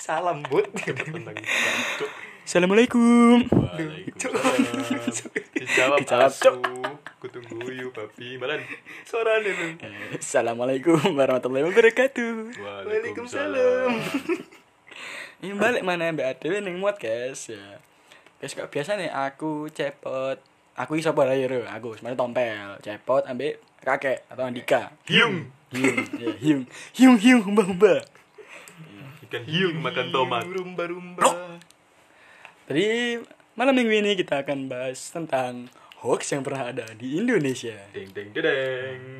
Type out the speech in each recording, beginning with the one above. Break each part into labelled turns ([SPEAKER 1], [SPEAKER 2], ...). [SPEAKER 1] salam bud
[SPEAKER 2] Telepon lagi Cuk.
[SPEAKER 3] Assalamualaikum.
[SPEAKER 2] Waalaikumsalam. Dijawab
[SPEAKER 3] Dijawab,
[SPEAKER 2] asu. Kutungguyu babi. Malan.
[SPEAKER 1] suara nih
[SPEAKER 3] Assalamualaikum warahmatullahi wabarakatuh.
[SPEAKER 1] Waalaikumsalam.
[SPEAKER 3] Ini balik mana Mbak Adewe ning muat guys ya. Guys kok biasa nih aku cepot. Aku iso apa ya Ro? Aku sebenarnya tompel, cepot ambek kakek atau Andika.
[SPEAKER 2] Hiung.
[SPEAKER 3] Hiung, ya, hiung, hiung, hiung, humbah, humbah.
[SPEAKER 2] Ikan hiung makan tomat.
[SPEAKER 1] rumba rumba
[SPEAKER 3] Jadi malam minggu ini kita akan bahas tentang hoax yang pernah ada di Indonesia.
[SPEAKER 2] Deng deng dedeng.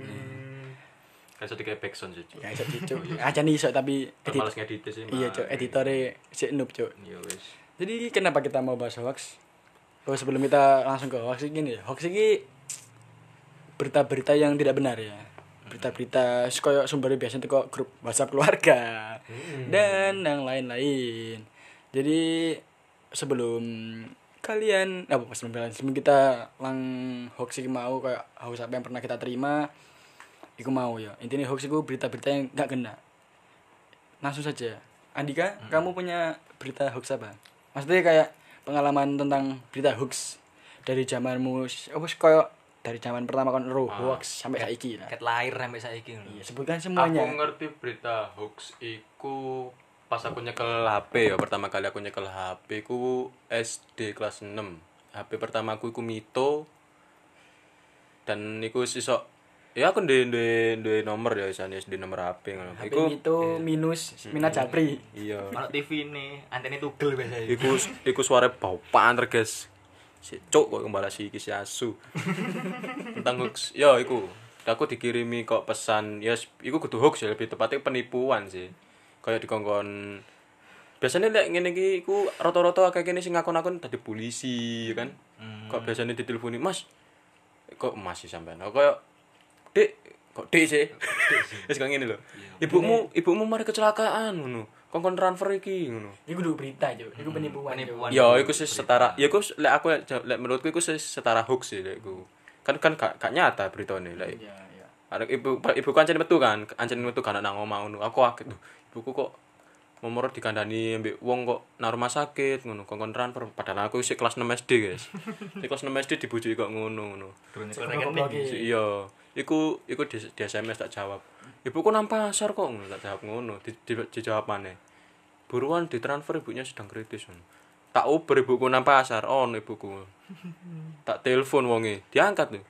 [SPEAKER 2] Kan satu kayak backsound sih. Cuk.
[SPEAKER 3] Ya iso Cuk. Aja nih iso tapi
[SPEAKER 2] Kan
[SPEAKER 3] edit-
[SPEAKER 2] Males ngedit sih.
[SPEAKER 3] Iya, Cuk,
[SPEAKER 2] Mak.
[SPEAKER 3] editore si noob, Cuk.
[SPEAKER 2] Iya wes.
[SPEAKER 3] Jadi kenapa kita mau bahas hoax? Oh sebelum kita langsung ke hoax ini, hoax ini berita-berita yang tidak benar ya. Berita-berita koyok sumbernya biasanya itu kok grup WhatsApp keluarga dan yang lain-lain. Jadi sebelum kalian apa sebelum kalian sebelum kita lang hoax ini mau kayak hoax apa yang pernah kita terima Iku mau ya intinya hoax itu berita-berita yang gak kena langsung saja Andika
[SPEAKER 2] Hmm.
[SPEAKER 3] kamu punya berita hoax apa maksudnya kayak pengalaman tentang berita hoax dari zamanmu apa sih koyo dari zaman pertama kan roh
[SPEAKER 2] Ah.
[SPEAKER 3] hoax sampai saiki lah
[SPEAKER 1] ket lahir sampai saiki
[SPEAKER 3] iya
[SPEAKER 1] ngono
[SPEAKER 3] sebutkan
[SPEAKER 2] Aku
[SPEAKER 3] semuanya
[SPEAKER 2] ngerti berita hoax iku pas aku nyekel HP ya pertama kali aku nyekel HP ku SD kelas 6. HP pertama aku iku Mito. Dan iku sisok ya aku ndek ndek ndek nomor ya isane SD nomor HP ngono.
[SPEAKER 3] HP
[SPEAKER 2] Iku Hmm.
[SPEAKER 3] itu minus minat japri
[SPEAKER 2] iya.
[SPEAKER 1] kalau TV ini antena tugel biasa ya
[SPEAKER 2] Iku iku suara bau panter guys. Si cuk kok kembali si iki si asu. Tentang hoax. Ya iku. Aku dikirimi kok pesan ya s- iku kudu hoax ya lebih tepatnya penipuan sih. Kayak dikongkon Biasanya lek ngene iki iku rata-rata kayak gini sing ngakon-akon tadi polisi ya kan. Kok biasanya diteleponi, "Mas, kok masih sampean?" Aku kayak, "Dik, kok dik sih?" Iya. Wis kok ngene lho. Ibumu ibumu mari kecelakaan ngono. Kongkon transfer iki ngono.
[SPEAKER 3] Iku dulu berita jo, iku penipuan jo.
[SPEAKER 1] Penipuan.
[SPEAKER 2] Ya, iku sih setara. Ya, iku lek aku lek menurutku iku sih setara hoax sih lek iku. Kan kan gak, gak nyata beritane lek.
[SPEAKER 3] Iya, iya.
[SPEAKER 2] Arek ibu ibu kan metu kan, ancen metu kan nang omah ngono. Aku kaget tuh. Ibuku kok momor dikandani ambek wong kok nang rumah sakit ngono kongkon transfer padahal aku sih kelas 6 SD, guys. Di kelas 6 SD dibujuki kok ngono ngono.
[SPEAKER 1] Durung
[SPEAKER 3] Cek
[SPEAKER 1] nyekel rekening.
[SPEAKER 3] goblok-goblok iki.
[SPEAKER 2] Iya, iku iku di, di SMS tak jawab. Ibuku nang pasar kok ngono tak jawab ngono, di, di, dijawab maneh. Buruan ditransfer ibunya sedang kritis ngono. Tak uber ibuku nang pasar, ono ibuku. Tak telepon wonge, diangkat tuh.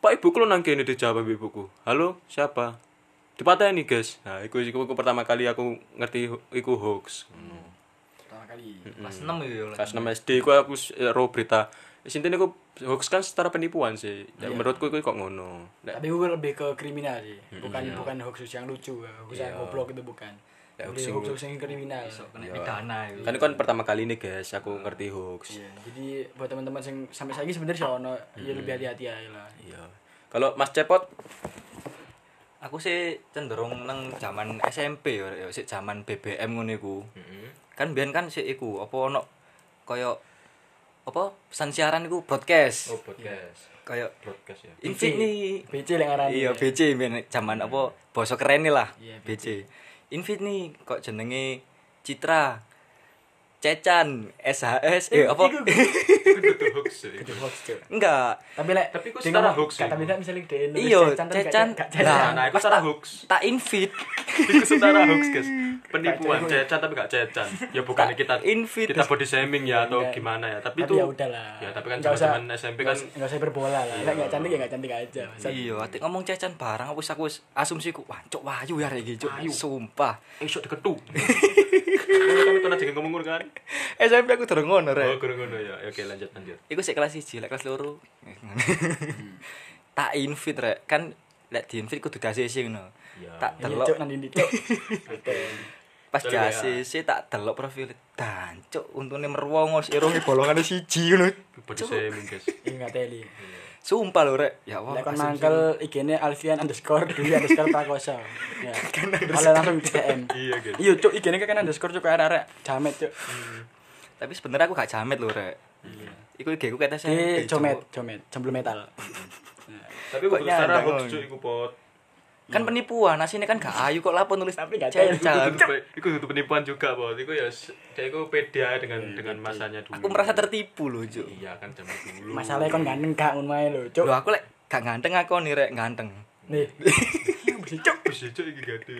[SPEAKER 2] Pak ibuku lu nang kene dijawab ambil ibuku. Halo, siapa? Dipateni, guys. Nah, iku, iku, iku pertama kali aku ngerti ho- iku hoax. Ngono.
[SPEAKER 3] Pertama kali.
[SPEAKER 1] kelas 6 itu ya
[SPEAKER 2] Kelas 6 SD ku aku s- eh, ro berita. Sintene ku hoax kan setara penipuan sih. Nek Menurutku iku kok ngono. Nek
[SPEAKER 3] Tapi gue lebih ke kriminal sih,
[SPEAKER 2] Hmm,
[SPEAKER 3] bukan bukan hoax yang lucu, eh, hoax yang goblok itu bukan.
[SPEAKER 2] iya. Ya,
[SPEAKER 3] Lebih
[SPEAKER 2] hoax-
[SPEAKER 3] hoax yang kriminal.
[SPEAKER 1] iso kena pidana itu
[SPEAKER 2] kan kan pertama kali ini guys aku ngerti hoax
[SPEAKER 3] Iya, jadi buat teman-teman yang sampai saiki sebenarnya sih ono ya
[SPEAKER 2] Hmm.
[SPEAKER 3] lebih hati-hati aja lah.
[SPEAKER 2] iya kalau mas cepot
[SPEAKER 1] aku sih cenderung nang zaman SMP ya ya, sik zaman BBM ngono iku kan biyen kan sik iku apa ono kaya apa pesan siaran iku broadcast
[SPEAKER 2] Oh, podcast
[SPEAKER 1] kaya
[SPEAKER 2] podcast ya
[SPEAKER 1] Infini
[SPEAKER 3] BC yang ngarani.
[SPEAKER 1] iya BC biyen zaman apa basa keren lah
[SPEAKER 3] Iya,
[SPEAKER 1] BC Infini kok jenenge Citra Cecan SHS eh apa
[SPEAKER 2] itu hoax ya
[SPEAKER 3] Itu hoax Cuk.
[SPEAKER 1] enggak
[SPEAKER 3] Tapi lek
[SPEAKER 2] Tapi ku
[SPEAKER 3] dia
[SPEAKER 2] setara hoax
[SPEAKER 3] ngomong- gak,
[SPEAKER 2] sih.
[SPEAKER 3] Tapi lek misalnya dia nulis
[SPEAKER 1] Iya,
[SPEAKER 3] cecan, tapi ya gak-
[SPEAKER 1] cecan.
[SPEAKER 3] gak
[SPEAKER 1] Nah,
[SPEAKER 3] cecan.
[SPEAKER 2] nah itu
[SPEAKER 1] Pas
[SPEAKER 2] secara
[SPEAKER 1] tak-
[SPEAKER 2] hoax
[SPEAKER 1] tak invite
[SPEAKER 2] itu secara hoax guys penipuan cecan tapi gak cecan ya bukannya kita
[SPEAKER 1] Invite.
[SPEAKER 2] kita body shaming ya atau
[SPEAKER 3] Enggak.
[SPEAKER 2] gimana ya tapi
[SPEAKER 3] Tapi
[SPEAKER 2] itu
[SPEAKER 3] ya udahlah.
[SPEAKER 2] ya tapi kan
[SPEAKER 3] Nggak usah-
[SPEAKER 2] zaman SMP kan
[SPEAKER 3] nggak usah berbola lah. Lek gak cantik ya gak cantik aja. Masa
[SPEAKER 1] iya ati ngomong cecan barang aku aku asumsiku wah cok wayu ya iki cok
[SPEAKER 2] Wayu.
[SPEAKER 1] sumpah
[SPEAKER 2] esok diketuk kan itu aja ngomong ngono kan
[SPEAKER 1] SMP aku durung
[SPEAKER 2] oh
[SPEAKER 1] ngono rek.
[SPEAKER 2] ngono ngono ya oke lanjut lanjut
[SPEAKER 1] Iku sik kelas 1, lek kelas loro.
[SPEAKER 2] Hmm.
[SPEAKER 1] tak invite rek. Kan lek di invite kudu di ACC ngono.
[SPEAKER 2] Iya.
[SPEAKER 1] Tak
[SPEAKER 3] Iya, Cuk,
[SPEAKER 1] delok
[SPEAKER 3] nanti ini, Cuk.
[SPEAKER 1] pas
[SPEAKER 2] Betul,
[SPEAKER 1] di
[SPEAKER 2] ya.
[SPEAKER 1] ACC tak delok profil dan cok untune meruwong irunge bolongane siji ngono.
[SPEAKER 2] body shaming guys
[SPEAKER 3] Iya, nggak teli.
[SPEAKER 1] Sumpah lho rek. Ya Allah.
[SPEAKER 3] Lek kon
[SPEAKER 1] asumsi.
[SPEAKER 3] mangkel IG-ne Alfian underscore Dwi underscore Prakoso. Ya. Oleh langsung di DM.
[SPEAKER 2] iya guys
[SPEAKER 3] Iya, Cuk, IG-ne kan underscore Cuk arek-arek jamet, Cuk.
[SPEAKER 1] Tapi sebenarnya aku gak jamet lho rek.
[SPEAKER 2] Iya.
[SPEAKER 1] Iku IG ku kata
[SPEAKER 3] Eh,
[SPEAKER 1] saya
[SPEAKER 3] comet, comet, jembel metal.
[SPEAKER 2] tapi waktu
[SPEAKER 1] Pokoknya
[SPEAKER 2] secara
[SPEAKER 1] ada
[SPEAKER 2] hoax
[SPEAKER 1] ngono.
[SPEAKER 2] cuy iku pot
[SPEAKER 1] Kan penipuan, asine kan gak ayu kok lapo nulis
[SPEAKER 3] Tapi gak
[SPEAKER 1] cair,
[SPEAKER 3] tahu.
[SPEAKER 1] Jan.
[SPEAKER 2] Iku Nah, itu penipuan juga, Bos. Iku ya s- dia iku beda dengan dengan masanya dulu.
[SPEAKER 1] Aku merasa tertipu loh, Cuk.
[SPEAKER 2] Iya kan zaman dulu.
[SPEAKER 3] Masalahnya kon ganteng gak ngono ae lho, Cuk.
[SPEAKER 1] Loh aku lek gak ganteng aku nih rek ganteng.
[SPEAKER 3] Nih.
[SPEAKER 2] cok bisa cok iki gade.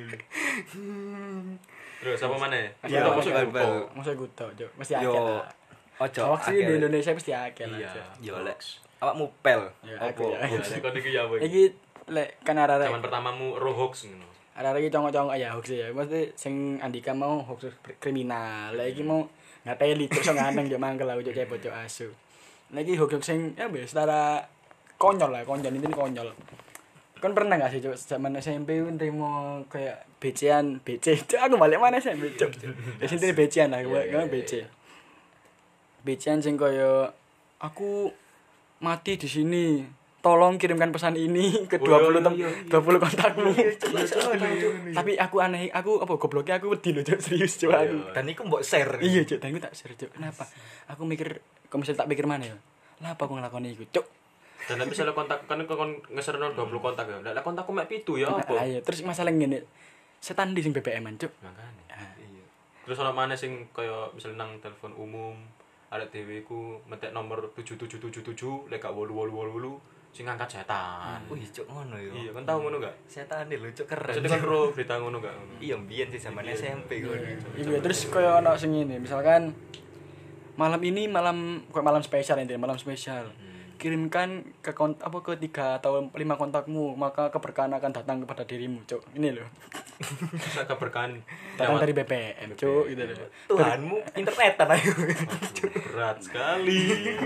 [SPEAKER 2] Terus apa mana?
[SPEAKER 1] Iya,
[SPEAKER 2] Apa
[SPEAKER 1] masuk
[SPEAKER 2] sih,
[SPEAKER 1] Iqbal.
[SPEAKER 2] Bro?
[SPEAKER 3] Masa gue tau, Cuk. Mesti akeh
[SPEAKER 1] Yo.
[SPEAKER 3] lah.
[SPEAKER 1] Ojo.
[SPEAKER 3] Hoax ini di
[SPEAKER 1] akeh.
[SPEAKER 3] Indonesia mesti akeh lah,
[SPEAKER 2] Iya.
[SPEAKER 3] Cuk.
[SPEAKER 1] Yo lek awakmu pel.
[SPEAKER 3] Ya,
[SPEAKER 1] Apa?
[SPEAKER 3] aku ya.
[SPEAKER 2] Iya, nek kon iki ya apa iki?
[SPEAKER 3] Iki lek kan arek-arek
[SPEAKER 2] Zaman pertamamu roh hoax ngono.
[SPEAKER 3] ada lagi congok-congok ya hoax ya mesti sing Andika mau hoax kriminal lagi mau ngateli terus so ngandeng yo mangkel aku cebok yo asu lagi hoax sing ya biasa secara konyol lah konyol ini konyol kan pernah gak sih cok zaman SMP nerimo kayak BC-an BC Cuk, aku balik mana SMP cok
[SPEAKER 2] Iya,
[SPEAKER 3] di sini BC-an lah gue gue BC BC-an sing koyo aku mati di sini tolong kirimkan pesan ini ke 20
[SPEAKER 2] Oh, iya,
[SPEAKER 3] tem-
[SPEAKER 2] iya,
[SPEAKER 3] 20 kontakmu tapi aku aneh aku apa gobloknya aku wedi loh Cuk. serius Cuk, aku
[SPEAKER 1] Dan iku mbok share.
[SPEAKER 3] iya cok tapi tak serius Cuk. kenapa aku mikir kalau misalnya tak pikir mana ya lah apa aku ngelakoni itu cok
[SPEAKER 2] Dan nek misalnya kontak kan kon ngeserno 20 kontak ya. Lah lah kontakku mek 7 ya apa?
[SPEAKER 3] ayo terus masalah gini setan di sing BBM cok
[SPEAKER 2] Makane.
[SPEAKER 3] Ah.
[SPEAKER 2] Iya. Terus ana mana sing kaya misalnya nang telepon umum arek dhewe iku metek nomor 7777 lek gak 8888 sing ngangkat
[SPEAKER 3] Ah.
[SPEAKER 2] setan.
[SPEAKER 1] Wih, Cuk ngono yo.
[SPEAKER 2] Iya, kan tau ngono gak?
[SPEAKER 1] Setan lho Cuk keren.
[SPEAKER 2] Maksudnya kan roh berita ngono gak?
[SPEAKER 1] Iya, mbiyen sih zaman SMP ngono.
[SPEAKER 3] Iya, terus kayak ono sing ini, misalkan malam ini malam kayak malam spesial intinya, malam spesial. Kirimkan ke kont apa ke tiga atau lima kontakmu, maka keberkahan akan datang kepada dirimu, Cuk. Ini loh.
[SPEAKER 2] Bisa keberkahan lewat
[SPEAKER 3] Datang dari BPM, Cuk, gitu loh.
[SPEAKER 1] Tuhanmu internetan ayo.
[SPEAKER 2] berat sekali.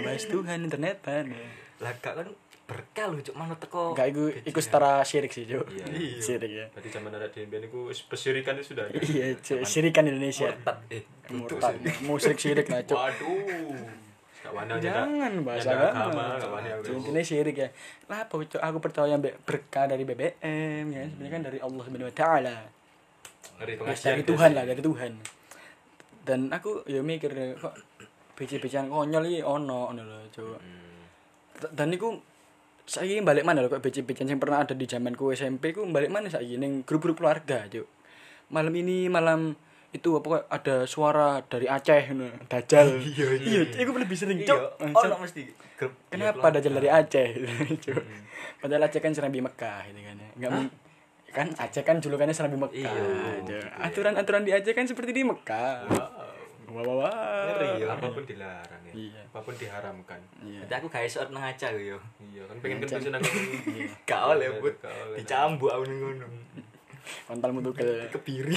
[SPEAKER 3] Bahas Tuhan internetan. ya.
[SPEAKER 1] Lah gak kan berkah lho Cuk manut teko.
[SPEAKER 3] Enggak iku iku setara syirik sih, Cuk.
[SPEAKER 2] Iya.
[SPEAKER 3] Syirik ya.
[SPEAKER 2] Berarti zaman ada DMBN itu wis pesirikan itu sudah. ada.
[SPEAKER 3] Iya, Cuk. Syirikan Indonesia.
[SPEAKER 1] Murtad. Eh, duduk
[SPEAKER 3] Murtad. Musrik syirik lah, Cuk. Iya.
[SPEAKER 2] Waduh. Gak wani
[SPEAKER 3] Jangan bahas agama.
[SPEAKER 2] Gak wani
[SPEAKER 3] Cuk, Intinya syirik ya. Lah apa Cuk? aku percaya mbek berkah dari BBM ya. Sebenarnya kan dari Allah Subhanahu wa taala.
[SPEAKER 2] Ngeri
[SPEAKER 3] Mas,
[SPEAKER 2] pengajian.
[SPEAKER 3] dari Tuhan lah, dari Tuhan. Dan aku ya mikir kok bece-becean konyol iki ono ngono lho, Cuk. T- Dan niku saiki balik mana lho kok bece-becean yang pernah ada di zamanku SMP ku balik mana saiki ning grup-grup keluarga, Cuk. Malam ini malam itu apa kok ada suara dari Aceh ngono, Dajal. Iya, iya. Iku lebih sering,
[SPEAKER 1] Iya,
[SPEAKER 3] Cuk.
[SPEAKER 1] ono mesti grup.
[SPEAKER 3] Kenapa Dajjal dari Aceh? Cuk? Padahal Aceh kan Serambi Mekah gitu kan ya. Enggak mung- kan Aceh kan julukannya Serambi Mekah. Cuk. Aturan-aturan di Aceh kan seperti di Mekah. Wah wah wah.
[SPEAKER 2] Ngeri ya. Apapun dilarang ya.
[SPEAKER 3] Iya.
[SPEAKER 2] Apapun diharamkan.
[SPEAKER 3] Iya.
[SPEAKER 1] Berarti aku gak iso nang aja yo.
[SPEAKER 2] Iya kan pengen kan bisa nang.
[SPEAKER 1] Gak oleh, Bud.
[SPEAKER 2] Gak
[SPEAKER 3] Oh,
[SPEAKER 2] oleh.
[SPEAKER 1] Dicambuk aku ning ngono.
[SPEAKER 3] Kontalmu tuh ke.
[SPEAKER 1] Kebiri.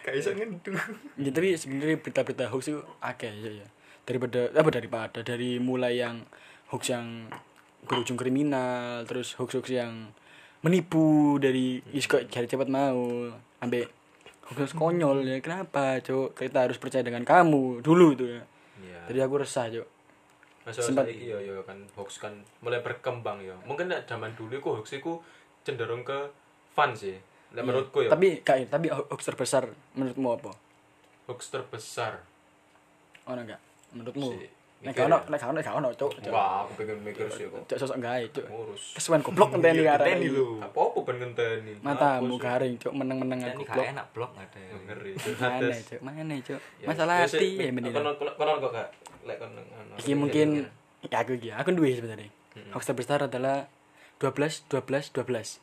[SPEAKER 1] Gak iso ngendu.
[SPEAKER 3] Ya, tapi sebenarnya berita-berita hoax itu akeh ya, ya. Daripada apa daripada dari mulai yang hoax yang berujung kriminal, terus hoax-hoax yang menipu dari is kok cari cepat mau ambek hoax konyol ya kenapa cok kita harus percaya dengan kamu dulu itu ya
[SPEAKER 2] Iya.
[SPEAKER 3] jadi aku resah cok
[SPEAKER 2] Masa
[SPEAKER 3] Sempat-
[SPEAKER 2] saiki yo yo kan hoax kan mulai berkembang yo. Mungkin nek zaman dulu iku hoax iku cenderung ke fun sih. Lah menurutku ya. iya, yo.
[SPEAKER 3] Iya. tapi kak tapi ho- hoax terbesar menurutmu apa
[SPEAKER 2] hoax terbesar.
[SPEAKER 3] ono enggak menurutmu
[SPEAKER 2] Si-
[SPEAKER 3] nek
[SPEAKER 2] mikir
[SPEAKER 3] gak ono
[SPEAKER 2] ya.
[SPEAKER 3] nek gak ono nek gak ono cok cok
[SPEAKER 2] Wah, aku pengen mikir sih kok.
[SPEAKER 3] Cok, sosok gawe cok
[SPEAKER 2] Ngurus.
[SPEAKER 3] kesuwen goblok ngenteni
[SPEAKER 1] Iya,
[SPEAKER 3] karek
[SPEAKER 1] ngenteni
[SPEAKER 3] iki.
[SPEAKER 1] lho.
[SPEAKER 2] Apa-apa ben ngenteni.
[SPEAKER 3] matamu garing cok meneng-meneng
[SPEAKER 1] Dan
[SPEAKER 3] aku
[SPEAKER 1] ini
[SPEAKER 3] blok.
[SPEAKER 1] gak enak blok gak ada.
[SPEAKER 2] Iya, ngeri iya.
[SPEAKER 3] mana cok mana cok masalah hati ya mending
[SPEAKER 2] konon konon konon kok kak lek Iya, konon konon.
[SPEAKER 1] Iya,
[SPEAKER 3] iki mungkin ya aku iki aku duwe sebenarnya
[SPEAKER 2] iya,
[SPEAKER 3] hoax terbesar adalah 12 12 12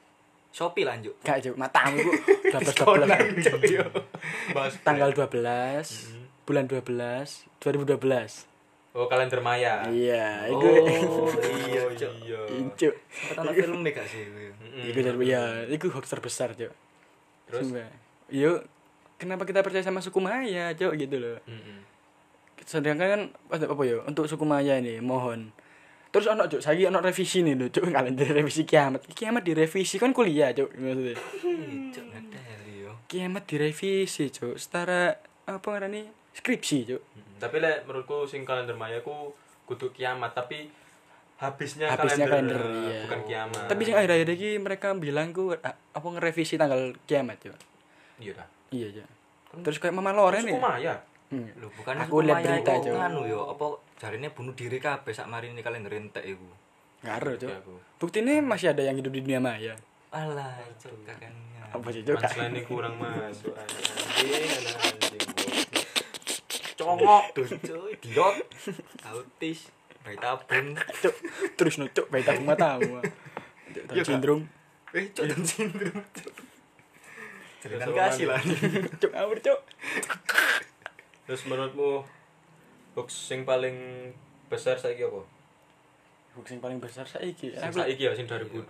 [SPEAKER 1] Shopee lanjut.
[SPEAKER 3] gak cok matamu kok 12 12
[SPEAKER 2] Cok, yo. bahas
[SPEAKER 3] tanggal 12 bulan 12 2012
[SPEAKER 2] oh kalender maya
[SPEAKER 3] iya
[SPEAKER 1] Oh,
[SPEAKER 3] itu
[SPEAKER 1] iya, Cuk.
[SPEAKER 2] iya
[SPEAKER 3] cok
[SPEAKER 1] Sempat ana film gak sih itu?
[SPEAKER 3] itu dari ya
[SPEAKER 1] Hmm.
[SPEAKER 3] itu hoax terbesar cok
[SPEAKER 2] Terus?
[SPEAKER 3] Sumpah. Yo, kenapa kita percaya sama suku Maya, cok gitu loh.
[SPEAKER 2] Mm-mm.
[SPEAKER 3] sedangkan kan ada apa ya untuk suku Maya ini mohon terus ono cuk saya ono revisi nih loh cuk kalender revisi kiamat kiamat direvisi kan kuliah cuk maksudnya
[SPEAKER 1] Cuk gak ada yo.
[SPEAKER 3] kiamat direvisi cuk setara apa ngarani skripsi cuk
[SPEAKER 2] Mm-mm. tapi lek menurutku sing kalender maya ku kudu kiamat tapi habisnya,
[SPEAKER 3] habisnya kalender
[SPEAKER 2] eh,
[SPEAKER 3] iya.
[SPEAKER 2] bukan kiamat
[SPEAKER 3] tapi yang akhir-akhir ini mereka bilang ku "Ah, apa ngerevisi tanggal kiamat cuk
[SPEAKER 2] iya dah
[SPEAKER 3] iya cuk terus kayak mama Loren
[SPEAKER 2] suku
[SPEAKER 3] ya
[SPEAKER 2] maya
[SPEAKER 3] Hmm.
[SPEAKER 1] Lho bukan
[SPEAKER 3] Aku lihat berita, Cuk.
[SPEAKER 1] Anu yo apa jarine bunuh diri kabeh sak marine kalender entek iku.
[SPEAKER 3] ngaruh cuk
[SPEAKER 2] Iya, aku.
[SPEAKER 3] buktinya masih ada yang hidup di dunia maya
[SPEAKER 1] Alah, itu kakaknya.
[SPEAKER 3] Apa sih juga?
[SPEAKER 2] Punchline kurang masuk. Anjing, anak anjing.
[SPEAKER 1] Congok tuh, cuy. Diot. Autis. Baik tabung.
[SPEAKER 3] Cuk, terus nucuk baik tahu matamu. Tahu
[SPEAKER 1] Iya, Kak.
[SPEAKER 3] cenderung.
[SPEAKER 1] Eh, cok dan sindrom. Cerita
[SPEAKER 2] Terus
[SPEAKER 1] kasih lah.
[SPEAKER 3] Cuk, ngawur cuk.
[SPEAKER 2] Terus menurutmu hoax sing paling besar saiki apa?
[SPEAKER 3] Hoax yang paling besar saiki.
[SPEAKER 2] Sing
[SPEAKER 3] Aku
[SPEAKER 2] saiki ya sing 2020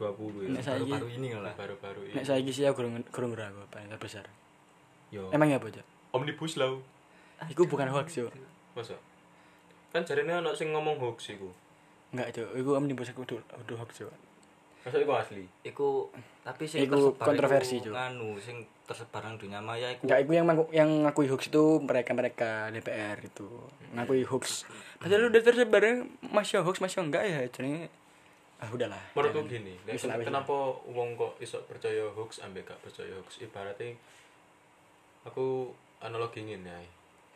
[SPEAKER 2] ya.
[SPEAKER 3] Nek saiki.
[SPEAKER 1] Baru-baru ini lah.
[SPEAKER 2] Baru-baru ini.
[SPEAKER 3] nek saiki sih aku kurang kurang ngira aku paling terbesar.
[SPEAKER 2] Yo.
[SPEAKER 3] Emangnya apa, Cuk?
[SPEAKER 2] Omnibus Law.
[SPEAKER 3] Iku bukan hoax, Ah, Cuk.
[SPEAKER 2] Masa? Kan jarene ana sing ngomong hoax iku.
[SPEAKER 3] Enggak, Cuk. Iku omnibus aku udah udah hoax, Cuk.
[SPEAKER 2] Masa iku asli?
[SPEAKER 1] Iku tapi sing
[SPEAKER 3] Iku
[SPEAKER 1] tersebar
[SPEAKER 3] kontroversi, Cuk.
[SPEAKER 1] iku Nganu sing tersebar nang dunia maya iku.
[SPEAKER 3] Enggak, iku yang mengaku- yang ngakui hoax itu mereka-mereka DPR itu. Ngakui hoax. Padahal udah tersebar masih hoax, masih enggak ya, jenenge. Ah, udahlah.
[SPEAKER 2] Menurutku
[SPEAKER 3] Jangan.
[SPEAKER 2] gini, nek
[SPEAKER 3] Wis lah, wis lah.
[SPEAKER 2] kenapa wong kok iso percaya hoax ambek gak percaya hoax? Ibaratnya aku analogi ngene ae.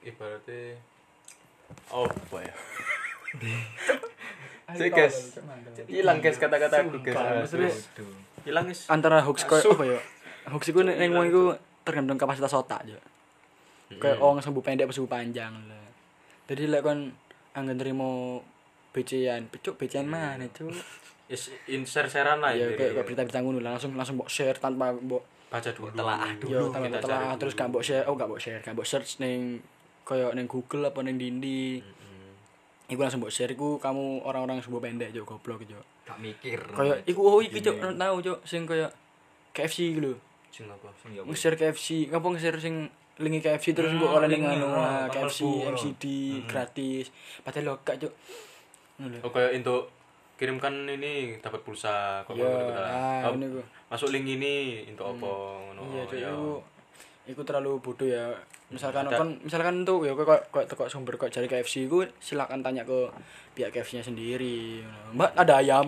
[SPEAKER 2] Ibaratnya apa ya? Cek guys. Hilang guys kata-kata aku
[SPEAKER 3] Sumpah,
[SPEAKER 2] guys.
[SPEAKER 3] maksudnya-
[SPEAKER 2] Wis. Hilang guys.
[SPEAKER 3] antara hoax koyo
[SPEAKER 2] Asuh.
[SPEAKER 3] apa ya? Hoax iku nek ning wong iku tergantung kapasitas otak yo. Kayak
[SPEAKER 2] Hmm.
[SPEAKER 3] orang sembuh pendek apa sembuh panjang lah. Jadi lek kon anggen nrimo BC-an, pecuk BC-an mana cuk?
[SPEAKER 2] Is inserseran lah
[SPEAKER 3] Ya
[SPEAKER 2] Hmm. ya.
[SPEAKER 3] kayak kayak berita-berita ngono lah, langsung langsung mbok share tanpa mbok
[SPEAKER 2] baca dulu.
[SPEAKER 1] Telaah dulu.
[SPEAKER 3] yo
[SPEAKER 2] Iya,
[SPEAKER 3] tanpa
[SPEAKER 2] kita
[SPEAKER 3] mbok ah telah
[SPEAKER 2] cari
[SPEAKER 3] terus gak mbok share, oh gak mbok share, gak mbok search ning koyo ning Google apa ning Dindi.
[SPEAKER 2] Hmm.
[SPEAKER 3] Iku langsung mbok share iku kamu orang-orang sembuh pendek yo goblok yo.
[SPEAKER 2] Hmm.
[SPEAKER 1] Gak mikir.
[SPEAKER 3] Kayak iku oh iki cuk tau cuk sing koyo KFC gitu lho.
[SPEAKER 1] sing apa? Sing ya.
[SPEAKER 3] nge-share KFC ngapa nge-share sing linki KFC terus
[SPEAKER 1] Hmm,
[SPEAKER 3] mbok oleh ning
[SPEAKER 1] link,
[SPEAKER 3] anu
[SPEAKER 2] oh,
[SPEAKER 3] ah,
[SPEAKER 1] ah,
[SPEAKER 3] KFC
[SPEAKER 1] mlebu, ah.
[SPEAKER 3] MCD
[SPEAKER 2] Hmm.
[SPEAKER 3] gratis padahal lo gak cuk Ngono lho.
[SPEAKER 2] Oh kayak untuk kirimkan ini dapat pulsa kok
[SPEAKER 3] Iya,
[SPEAKER 2] ngono kita lah.
[SPEAKER 3] ah,
[SPEAKER 2] Oh,
[SPEAKER 3] ini gua.
[SPEAKER 2] Masuk link ini untuk apa ngono.
[SPEAKER 3] iya cuk
[SPEAKER 2] ya.
[SPEAKER 3] iku iku terlalu bodoh ya misalkan
[SPEAKER 2] Ada-
[SPEAKER 3] kon misalkan tuh ya kok kok teko sumber kok cari KFC iku silakan tanya ke pihak KFC-nya sendiri ngono. Mbak ada ayam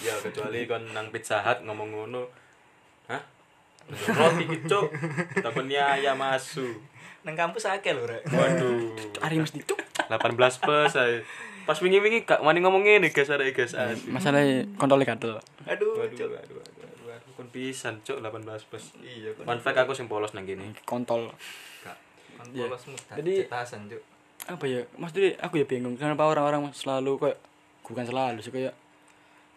[SPEAKER 2] Ya kecuali kon nang pizza hut ngomong ngono. Hah? Roti kecok, takutnya ayam asu.
[SPEAKER 1] Nang kampus akeh lho, Rek.
[SPEAKER 2] Waduh.
[SPEAKER 3] Ari mesti cuk
[SPEAKER 2] 18 plus saya. Pas wingi-wingi gak wani ngomong ngene guys arek guys
[SPEAKER 3] Hmm.
[SPEAKER 2] asu.
[SPEAKER 3] masalahnya kontrolnya gatel
[SPEAKER 1] Aduh,
[SPEAKER 2] Waduh,
[SPEAKER 1] Cuk.
[SPEAKER 2] aduh, aduh, aduh, aduh. Kon pisan cok 18 plus.
[SPEAKER 1] Iya, kon.
[SPEAKER 2] Fun fact aku sing polos nang kene.
[SPEAKER 3] kontol
[SPEAKER 1] Kak, Kon
[SPEAKER 3] Iya.
[SPEAKER 1] polos muda.
[SPEAKER 3] Jadi-
[SPEAKER 1] cetasan, Cuk.
[SPEAKER 3] apa ya maksudnya aku ya bingung kenapa orang-orang selalu kayak bukan selalu sih kayak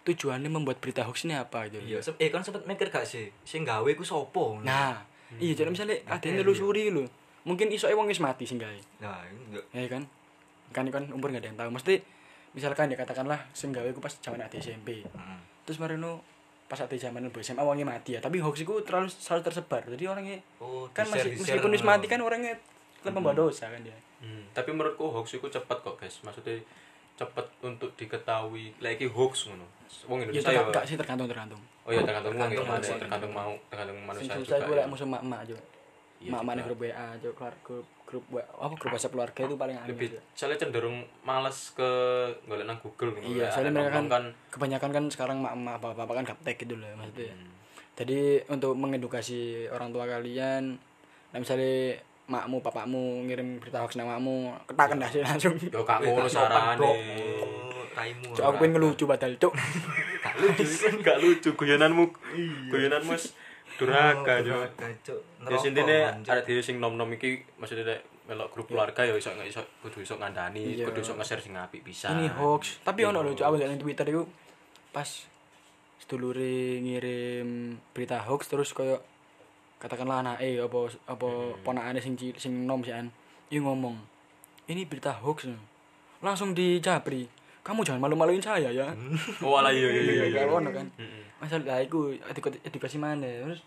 [SPEAKER 3] tujuannya membuat berita hoax ini apa gitu
[SPEAKER 1] Iya, sep- eh kon sempet mikir gak sih sing gawe ku sapa?
[SPEAKER 3] nah iya jadi misalnya ada yang nelusuri lho mungkin iso wong wis mati sih gawe
[SPEAKER 1] Nah, ini Cuk.
[SPEAKER 3] ya kan kan kan umur gak ada yang tahu mesti misalkan ya katakanlah sing gawe ku pas zaman ada SMP
[SPEAKER 1] Heeh.
[SPEAKER 3] terus marino pas ada zaman bu SMA wongnya mati ya tapi hoax itu terlalu selalu tersebar jadi orangnya
[SPEAKER 1] Oh,
[SPEAKER 3] kan
[SPEAKER 1] di-share,
[SPEAKER 3] masih
[SPEAKER 1] di-share
[SPEAKER 3] meskipun wis
[SPEAKER 1] ngono.
[SPEAKER 3] mati kan orangnya tetap membawa dosa kan dia
[SPEAKER 2] Hmm, tapi menurutku hoax itu cepat kok guys maksudnya cepat untuk diketahui lagi hoax ngono wong
[SPEAKER 3] ya
[SPEAKER 2] Indonesia ya
[SPEAKER 3] tergantung gak sih tergantung tergantung
[SPEAKER 2] oh ya tergantung wong
[SPEAKER 1] Tergantung
[SPEAKER 2] ya
[SPEAKER 1] manusia.
[SPEAKER 2] tergantung mau tergantung
[SPEAKER 3] Sing
[SPEAKER 2] manusia
[SPEAKER 3] susah
[SPEAKER 2] juga
[SPEAKER 3] gue
[SPEAKER 2] ya.
[SPEAKER 3] lek musuh mak-mak aja.
[SPEAKER 2] Iya
[SPEAKER 3] Mak-mak nih
[SPEAKER 2] juga.
[SPEAKER 3] grup WA aja, keluar grup grup WA. Apa grup WhatsApp keluarga itu paling aneh.
[SPEAKER 2] lebih
[SPEAKER 3] aja.
[SPEAKER 2] soalnya cenderung males ke golek nang Google ngono
[SPEAKER 3] Iya,
[SPEAKER 2] ya. Ada
[SPEAKER 3] soalnya mereka kan,
[SPEAKER 2] nongkrong kan
[SPEAKER 3] kebanyakan kan sekarang mak-mak bapak-bapak kan gaptek gitu loh maksudnya.
[SPEAKER 2] Hmm.
[SPEAKER 3] Jadi untuk mengedukasi orang tua kalian, nah misalnya makmu, bapakmu ngirim berita hoax nang makmu,
[SPEAKER 2] Iya.
[SPEAKER 3] ketaken dah sih langsung.
[SPEAKER 2] yo gak
[SPEAKER 1] Eh,
[SPEAKER 2] ngono
[SPEAKER 1] tak sopan,
[SPEAKER 2] sarane
[SPEAKER 1] Dok. Oh, Raimu.
[SPEAKER 3] Cok aku pengen ngelucu padahal cok.
[SPEAKER 1] Gak lucu.
[SPEAKER 2] gak lucu guyonanmu guyonanmu wis
[SPEAKER 3] Oh,
[SPEAKER 2] durhaka yo
[SPEAKER 1] Durhaka, Cuk.
[SPEAKER 2] Ya
[SPEAKER 1] Neraka,
[SPEAKER 2] sintine
[SPEAKER 1] Cuk.
[SPEAKER 2] ada dhewe sing nom-nom iki maksudnya nek melok grup keluarga ya iso iso kudu iso ngandani,
[SPEAKER 3] Iya.
[SPEAKER 2] kudu iso nge-share sing apik pisan.
[SPEAKER 3] Ini hoax. Tapi ono lho
[SPEAKER 2] Iya.
[SPEAKER 3] cok aku liat di Twitter itu pas sedulure ngirim berita hoax terus koyo katakanlah anake apa apa ponakane sing cil- sing nom sian. Iki ngomong, "Ini berita hoax." Langsung dijabri. "Kamu jangan malu-maluin saya ya."
[SPEAKER 2] Oh ala iya Hmm, iya iya.
[SPEAKER 3] Iya, ono kan.
[SPEAKER 2] Mm-mm.
[SPEAKER 3] Masa lah iku edukasi, edukasi mana terus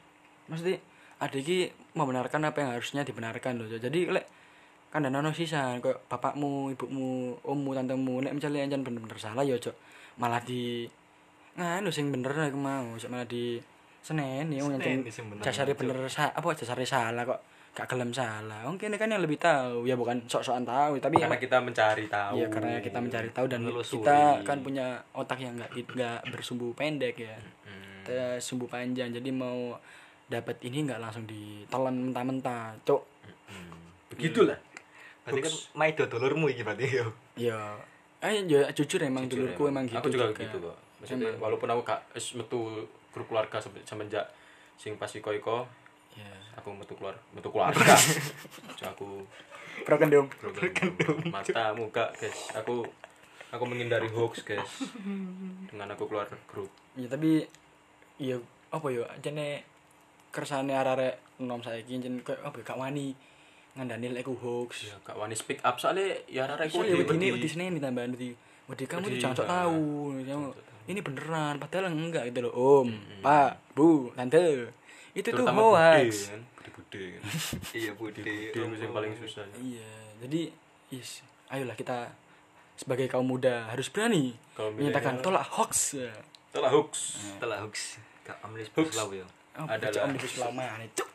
[SPEAKER 3] mesti ada iki membenarkan apa yang harusnya dibenarkan loh jadi lek kan dan ono sisan kayak bapakmu ibumu ommu tantemu lek misalnya anjan bener-bener salah ya cok malah di nganu sing bener aku mau cok malah di senen ya wong
[SPEAKER 1] Seneni
[SPEAKER 3] anjen
[SPEAKER 1] sing bener,
[SPEAKER 3] jasare bener sa apa jasare salah kok gak gelem salah wong kene kan yang lebih tahu ya bukan sok-sokan tahu tapi
[SPEAKER 2] karena
[SPEAKER 1] Nah,
[SPEAKER 3] emang-
[SPEAKER 2] kita mencari tahu
[SPEAKER 3] Iya karena kita mencari tahu dan
[SPEAKER 1] Menelusuri.
[SPEAKER 3] kita kan punya otak yang nggak nggak bersumbu pendek ya, Kita sumbu panjang. Jadi mau dapat ini nggak langsung ditelan mentah-mentah, cok.
[SPEAKER 2] Hmm. begitulah
[SPEAKER 1] Berarti kan maido dulurmu iki berarti yo.
[SPEAKER 3] Ya, eh ya jujur emang dulurku emang gitu.
[SPEAKER 2] Iya, aku juga
[SPEAKER 3] Cok,
[SPEAKER 2] gitu
[SPEAKER 3] ya.
[SPEAKER 2] kok Maksudnya, walaupun aku gak wis metu grup keluarga se- semenjak sing pas iko iko
[SPEAKER 3] ya
[SPEAKER 2] aku metu keluar metu keluarga Terus aku
[SPEAKER 3] broken dong
[SPEAKER 2] program mata muka guys aku aku menghindari hoax guys dengan aku keluar grup
[SPEAKER 3] ya tapi ya apa ya jane kersane arek-arek nom saiki jen koyo apa ya gak wani ngandani lek iku hoax
[SPEAKER 2] ya gak wani speak up soalnya ya rara iku
[SPEAKER 3] Soalnya
[SPEAKER 2] wedi-
[SPEAKER 3] wedi ini
[SPEAKER 2] wedi.
[SPEAKER 3] wedi Senin ditambahin wedi. Wedi kamu tuh
[SPEAKER 2] Wedi,
[SPEAKER 3] jangan sok
[SPEAKER 2] nah.
[SPEAKER 3] tahu. Kamu, Ini beneran padahal enggak gitu loh Om, Pak, Bu, Tante. Itu tuh
[SPEAKER 2] terutama
[SPEAKER 3] hoax.
[SPEAKER 2] bude kan bude kan
[SPEAKER 1] iya bude
[SPEAKER 2] bude itu yang paling susah
[SPEAKER 3] Iya, jadi yes, ayolah kita sebagai kaum muda harus berani
[SPEAKER 2] Kaum
[SPEAKER 3] menyatakan
[SPEAKER 2] milenial.
[SPEAKER 3] tolak hoax. Ya.
[SPEAKER 2] telah hoax
[SPEAKER 1] telah hoax gak amlis puslau yo
[SPEAKER 3] Oh,
[SPEAKER 2] Adalah.
[SPEAKER 3] Adalah omnibus lama nih, cuk.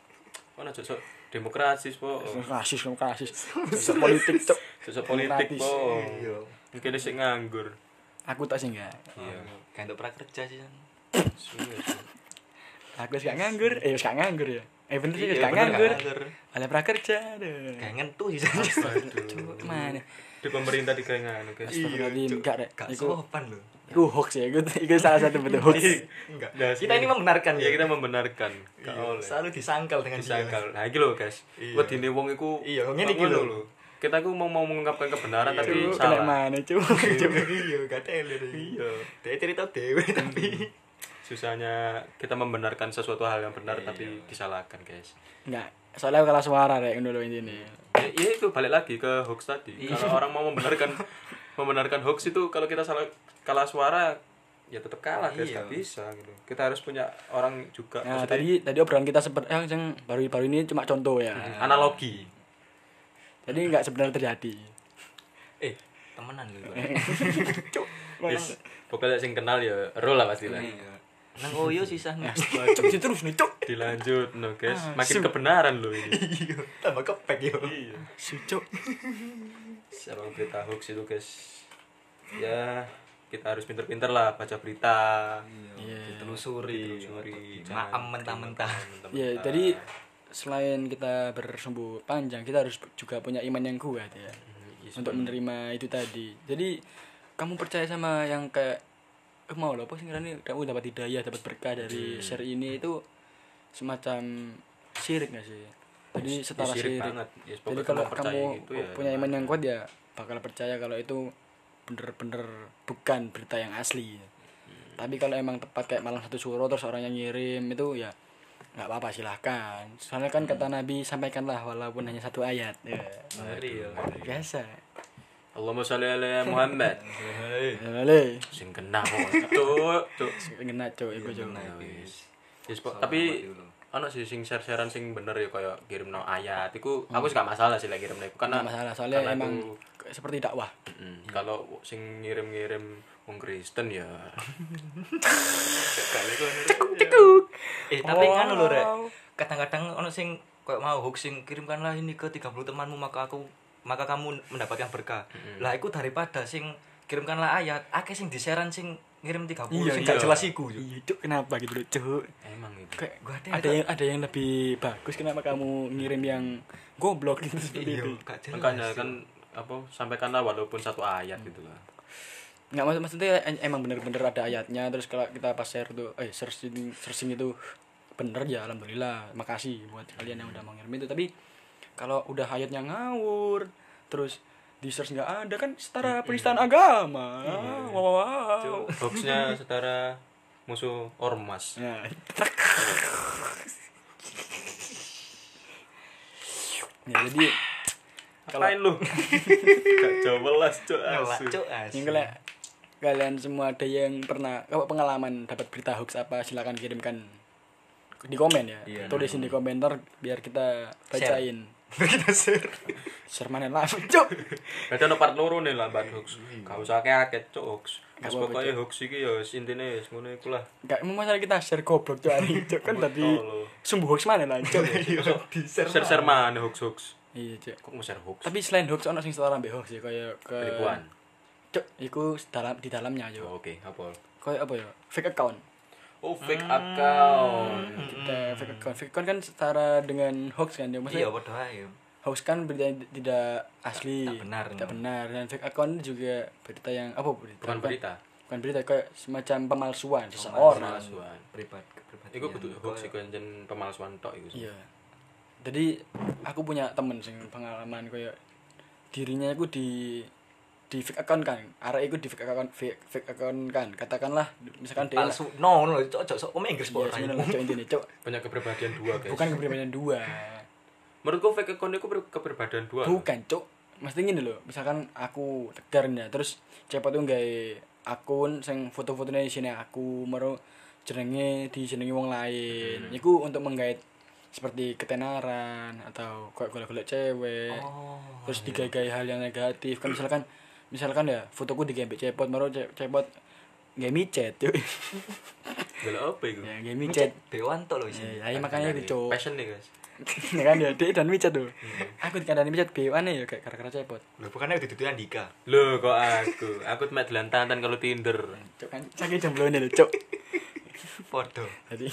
[SPEAKER 2] mana cocok demokrasi po
[SPEAKER 3] Rasis, kamu rasis. Sosok politik, cuk.
[SPEAKER 2] cocok politik
[SPEAKER 3] Demokratis. Iya.
[SPEAKER 2] po mungkin sih nganggur
[SPEAKER 3] Aku tak sih enggak.
[SPEAKER 2] iya
[SPEAKER 1] gak untuk prakerja sih San.
[SPEAKER 2] Suwe, Cuk.
[SPEAKER 3] Aku sih gak nganggur. Eh, wis gak nganggur ya. Eh bener sih wis
[SPEAKER 2] Iya,
[SPEAKER 3] gak
[SPEAKER 2] bener,
[SPEAKER 3] nganggur.
[SPEAKER 2] gak nganggur.
[SPEAKER 3] Oleh prakerja. aduh.
[SPEAKER 1] gak ngentu sih San.
[SPEAKER 2] Aduh.
[SPEAKER 3] Mana?
[SPEAKER 2] di pemerintah digangan
[SPEAKER 1] Iya.
[SPEAKER 2] guys
[SPEAKER 3] Astagfirullahaladzim,
[SPEAKER 1] Cuk.
[SPEAKER 3] enggak rek.
[SPEAKER 1] gak
[SPEAKER 3] Iku
[SPEAKER 1] sopan loh
[SPEAKER 3] iku hoax ya, iku iku salah satu bentuk hoax.
[SPEAKER 1] enggak
[SPEAKER 2] Nah,
[SPEAKER 1] kita ini membenarkan
[SPEAKER 2] ya kita membenarkan gak
[SPEAKER 1] Iya,
[SPEAKER 2] oleh
[SPEAKER 1] selalu disangkal dengan dia.
[SPEAKER 2] disangkal. Nah, iki lho, guys.
[SPEAKER 1] Iya.
[SPEAKER 2] Wedine wong iku
[SPEAKER 1] Iya, ngene
[SPEAKER 2] kok
[SPEAKER 1] iki lho.
[SPEAKER 2] ngono Kita ku mau mau mengungkapkan kebenaran tapi
[SPEAKER 3] Iku kena
[SPEAKER 2] salah.
[SPEAKER 3] mana cuma cuma
[SPEAKER 1] iya gak teler
[SPEAKER 2] Iya. Hmm.
[SPEAKER 1] dia cerita dewe tapi
[SPEAKER 2] Susahnya kita membenarkan sesuatu hal yang
[SPEAKER 1] Iya.
[SPEAKER 2] benar tapi disalahkan, guys.
[SPEAKER 3] enggak. Soalnya aku kalah suara rek ngono lho Nah, intine.
[SPEAKER 2] Ya, ya itu balik lagi ke hoax tadi.
[SPEAKER 1] Iya.
[SPEAKER 2] Kalau orang mau membenarkan membenarkan hoax itu kalau kita salah kalah suara ya tetap kalah, guys.
[SPEAKER 1] Iya.
[SPEAKER 2] Gak bisa gitu. Kita harus punya orang juga
[SPEAKER 3] Nah,
[SPEAKER 2] maksudnya
[SPEAKER 3] tadi tadi obrolan kita seperti yang yang baru-baru ini cuma contoh ya.
[SPEAKER 2] analogi.
[SPEAKER 3] Jadi enggak sebenarnya terjadi.
[SPEAKER 1] eh temenan lu
[SPEAKER 2] Yes. Pokoknya sing kenal ya ero lah pasti lah.
[SPEAKER 3] Hmm.
[SPEAKER 1] nang oyo sisah
[SPEAKER 2] Iya.
[SPEAKER 1] nih
[SPEAKER 3] Cuk, sih terus nih cuk.
[SPEAKER 2] Dilanjut, no guys.
[SPEAKER 3] Ah,
[SPEAKER 2] Makin kebenaran loh ini.
[SPEAKER 1] iya tambah kepek yo
[SPEAKER 2] Iya.
[SPEAKER 3] Si cuk.
[SPEAKER 2] Emang berita hoax itu guys Ya kita harus pinter-pinter lah baca berita Iya.
[SPEAKER 1] ditelusuri
[SPEAKER 2] Ditelusuri. Iya,
[SPEAKER 1] maam mentah-mentah
[SPEAKER 3] Ya, jadi selain kita bersumbu panjang, kita harus juga punya iman yang kuat ya.
[SPEAKER 2] Iya,
[SPEAKER 3] Untuk menerima itu tadi. Jadi kamu percaya sama yang kayak eh, mau loh, apa sih ngarane? kamu dapat hidayah, dapat berkah dari share ini itu semacam syirik gak sih? Jadi setara
[SPEAKER 2] ya,
[SPEAKER 3] syirik.
[SPEAKER 2] syirik banget. Ya,
[SPEAKER 3] Jadi
[SPEAKER 2] pokoknya
[SPEAKER 3] kalau
[SPEAKER 2] kamu percaya
[SPEAKER 3] kamu
[SPEAKER 2] gitu ya,
[SPEAKER 3] punya iman
[SPEAKER 2] gimana?
[SPEAKER 3] yang kuat ya bakal percaya kalau itu bener-bener bukan berita yang asli. ya. Tapi kalau emang tepat kayak malam satu suro terus orang yang ngirim itu ya nggak apa-apa silahkan. Soalnya kan kata Nabi sampaikanlah walaupun hanya satu ayat. Ya.
[SPEAKER 2] Hmm.
[SPEAKER 1] ngeri yo
[SPEAKER 3] Biasa.
[SPEAKER 2] iya, Allahumma sholli ala Muhammad
[SPEAKER 3] Lele.
[SPEAKER 2] sing kena kok, cuk cuk
[SPEAKER 3] Kena cok, iku cok.
[SPEAKER 2] Ya, wis. Ya, sepok- tapi ono sih sing share-sharean sing bener ya kayak kirimno ayat iku aku sih gak masalah sih lek kirimno iku karena
[SPEAKER 3] Nggak Hmm. masalah soalnya
[SPEAKER 2] karena
[SPEAKER 3] emang
[SPEAKER 2] aku-
[SPEAKER 3] seperti dakwah.
[SPEAKER 2] Mm, kalau sing ngirim-ngirim wong Kristen ya
[SPEAKER 1] eh tapi kan lho rek kadang-kadang ono sing kayak mau hoax sing kirimkanlah ini ke 30 temanmu maka aku maka kamu mendapatkan berkah lah iku daripada sing kirimkanlah ayat akeh sing diseran sing ngirim 30 sing
[SPEAKER 2] iya.
[SPEAKER 1] gak jelas iku yo
[SPEAKER 3] Iya cok kenapa gitu loh cok.
[SPEAKER 2] emang itu
[SPEAKER 3] Kayak
[SPEAKER 1] Gua ada yang
[SPEAKER 3] ada yang ada yang lebih bagus kenapa kamu ngirim yang goblok gitu seperti
[SPEAKER 1] iya
[SPEAKER 3] itu.
[SPEAKER 1] gak jelas
[SPEAKER 2] makanya kan apa sampaikanlah walaupun satu ayat gitu lah
[SPEAKER 3] nggak maksud maksudnya em- emang bener-bener ada ayatnya terus kalau kita pas share tuh eh searching searching itu bener ya alhamdulillah makasih buat kalian yang udah mau ngirim itu tapi kalau udah ayatnya ngawur terus di search nggak ada kan setara penistaan agama wow, wow, wow.
[SPEAKER 2] hoaxnya setara musuh ormas
[SPEAKER 3] Nah, ya jadi
[SPEAKER 2] Apain lu? Gak jauh belas cok
[SPEAKER 1] Ngelak,
[SPEAKER 2] asu.
[SPEAKER 1] cuk, asu.
[SPEAKER 3] yang kalian kalian semua ada yang pernah kalau pengalaman dapat berita hoax apa silakan kirimkan di komen ya
[SPEAKER 1] Iya.
[SPEAKER 3] tulisin di komentar biar kita bacain
[SPEAKER 1] kita share
[SPEAKER 3] share mana lah cuk
[SPEAKER 2] Berarti ono part loro nih lambat hoax. Gak usah akeh-akeh cok hoax. Wis
[SPEAKER 3] apa-apa,
[SPEAKER 2] pokoke hoax iki ya wis intine wis ngono iku lah.
[SPEAKER 3] nggak mau masalah kita share goblok cuk hari cuk kan tadi
[SPEAKER 2] Tolol.
[SPEAKER 3] sumbu hoax mana lah cuk
[SPEAKER 1] di share
[SPEAKER 2] Share-share mana hoax-hoax.
[SPEAKER 3] iya cuk
[SPEAKER 2] Kok mau share hoax?
[SPEAKER 3] tapi selain hoax ono sing setara ambek hoax ya kayak ke
[SPEAKER 2] Penipuan.
[SPEAKER 3] cuk iku dalam di dalamnya yo
[SPEAKER 2] Oh, Oke, apa?
[SPEAKER 3] kayak apa ya fake account
[SPEAKER 2] Oh, fake account.
[SPEAKER 3] kita fake account fake account kan setara dengan hoax kan ya maksudnya
[SPEAKER 1] iya padha ae
[SPEAKER 3] hoax kan berita yang tidak asli
[SPEAKER 1] Tak benar,
[SPEAKER 3] tidak
[SPEAKER 1] no.
[SPEAKER 3] benar dan fake account juga berita yang apa berita
[SPEAKER 2] Bukan berita.
[SPEAKER 3] bukan berita kayak semacam pemalsuan
[SPEAKER 1] Pemalsuan.
[SPEAKER 3] seseorang
[SPEAKER 2] Pemalsuan.
[SPEAKER 1] Privat kepribadian.
[SPEAKER 2] Iku kudu hoax
[SPEAKER 1] Kayak-
[SPEAKER 2] iku jen pemalsuan tok iku. sih.
[SPEAKER 3] iya jadi aku punya temen sing pengalaman kayak dirinya aku di di fake account kan arek iku di fake account fake, fake account kan katakanlah misalkan dia
[SPEAKER 1] palsu no no cok cok sok omong Inggris
[SPEAKER 3] Iya,
[SPEAKER 1] pora.
[SPEAKER 3] sebenarnya lah, cok intinya cok
[SPEAKER 2] Punya kepribadian dua, guys.
[SPEAKER 3] bukan kepribadian dua
[SPEAKER 2] Menurutku fake account iku per- kepribadian dua.
[SPEAKER 3] bukan cok mesti gini loh misalkan aku tegar nih ya, terus cepet tuh nggak akun sing foto-fotonya di sini aku mero jenenge di jenenge wong lain iku untuk menggait seperti ketenaran atau kayak golek-golek cewek
[SPEAKER 1] Oh.
[SPEAKER 3] terus digagai hal yang negatif kan misalkan misalkan ya fotoku digembek cepot baru ce- cepot nggak micet yuk
[SPEAKER 2] Delok apa iku?
[SPEAKER 3] ya nggak micet
[SPEAKER 1] Dewan tok lho
[SPEAKER 3] ya,
[SPEAKER 1] isine.
[SPEAKER 3] ya, makanya
[SPEAKER 2] Dari
[SPEAKER 3] itu cowok
[SPEAKER 2] Passion nih, guys.
[SPEAKER 3] ya kan ya dia dan micet tuh aku dikandani micet bewan ya kayak gara-gara cepot
[SPEAKER 1] Lho bukannya udah ditutup Andika.
[SPEAKER 2] Loh, kok aku? Aku cuma delan tantan kan kalau Tinder.
[SPEAKER 3] cok kan sakit jomblo ini loh cok
[SPEAKER 1] Podo.
[SPEAKER 3] tadi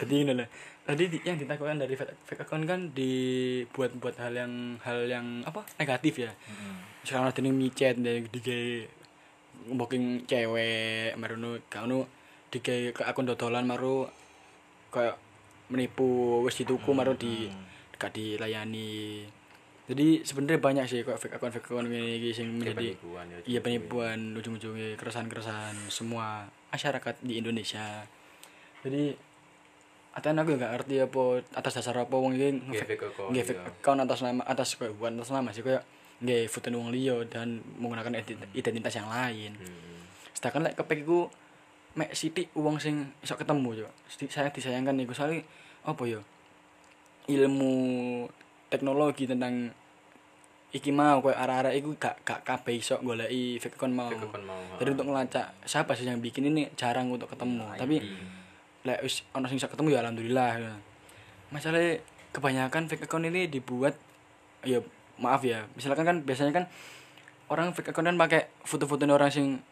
[SPEAKER 3] tadi ini lah tadi di- yang ditakutkan dari fake fake account kan dibuat buat hal yang hal yang apa negatif ya sekarang ada yang micet dari DJ booking cewek baru nu kau nu DJ ke akun dodolan baru kayak menipu wis dituku baru di gak dilayani jadi sebenarnya banyak sih kayak fake account fake account ini iki sing menjadi
[SPEAKER 2] penipuan ya,
[SPEAKER 3] iya penipuan ujung-ujungnya keresahan-keresahan semua masyarakat di Indonesia jadi Atan aku gak ngerti apa atas dasar apa wong iki
[SPEAKER 2] Nggih, fake account,
[SPEAKER 3] nggih, fake
[SPEAKER 2] iya.
[SPEAKER 3] account atas nama atas kayak bukan atas nama sih kayak nggih foto wong liya dan menggunakan ident- identitas yang lain.
[SPEAKER 2] Hmm.
[SPEAKER 3] Sedangkan lek kepek iku mek sithik wong sing iso ketemu yo. Sithik saya disayangkan iku soalnya apa yo? Ilmu teknologi tentang iki mau kayak arah-arah iku gak gak kabeh iso goleki fake account mau.
[SPEAKER 2] Fake account mau, ha.
[SPEAKER 3] Jadi Oh. untuk ngelacak siapa sih yang bikin ini jarang untuk ketemu. Tapi lek wis ana sing iso ketemu ya alhamdulillah. ya. Masalahnya kebanyakan fake account ini dibuat ya maaf ya. Misalkan kan biasanya kan orang fake account kan pakai foto-foto orang sing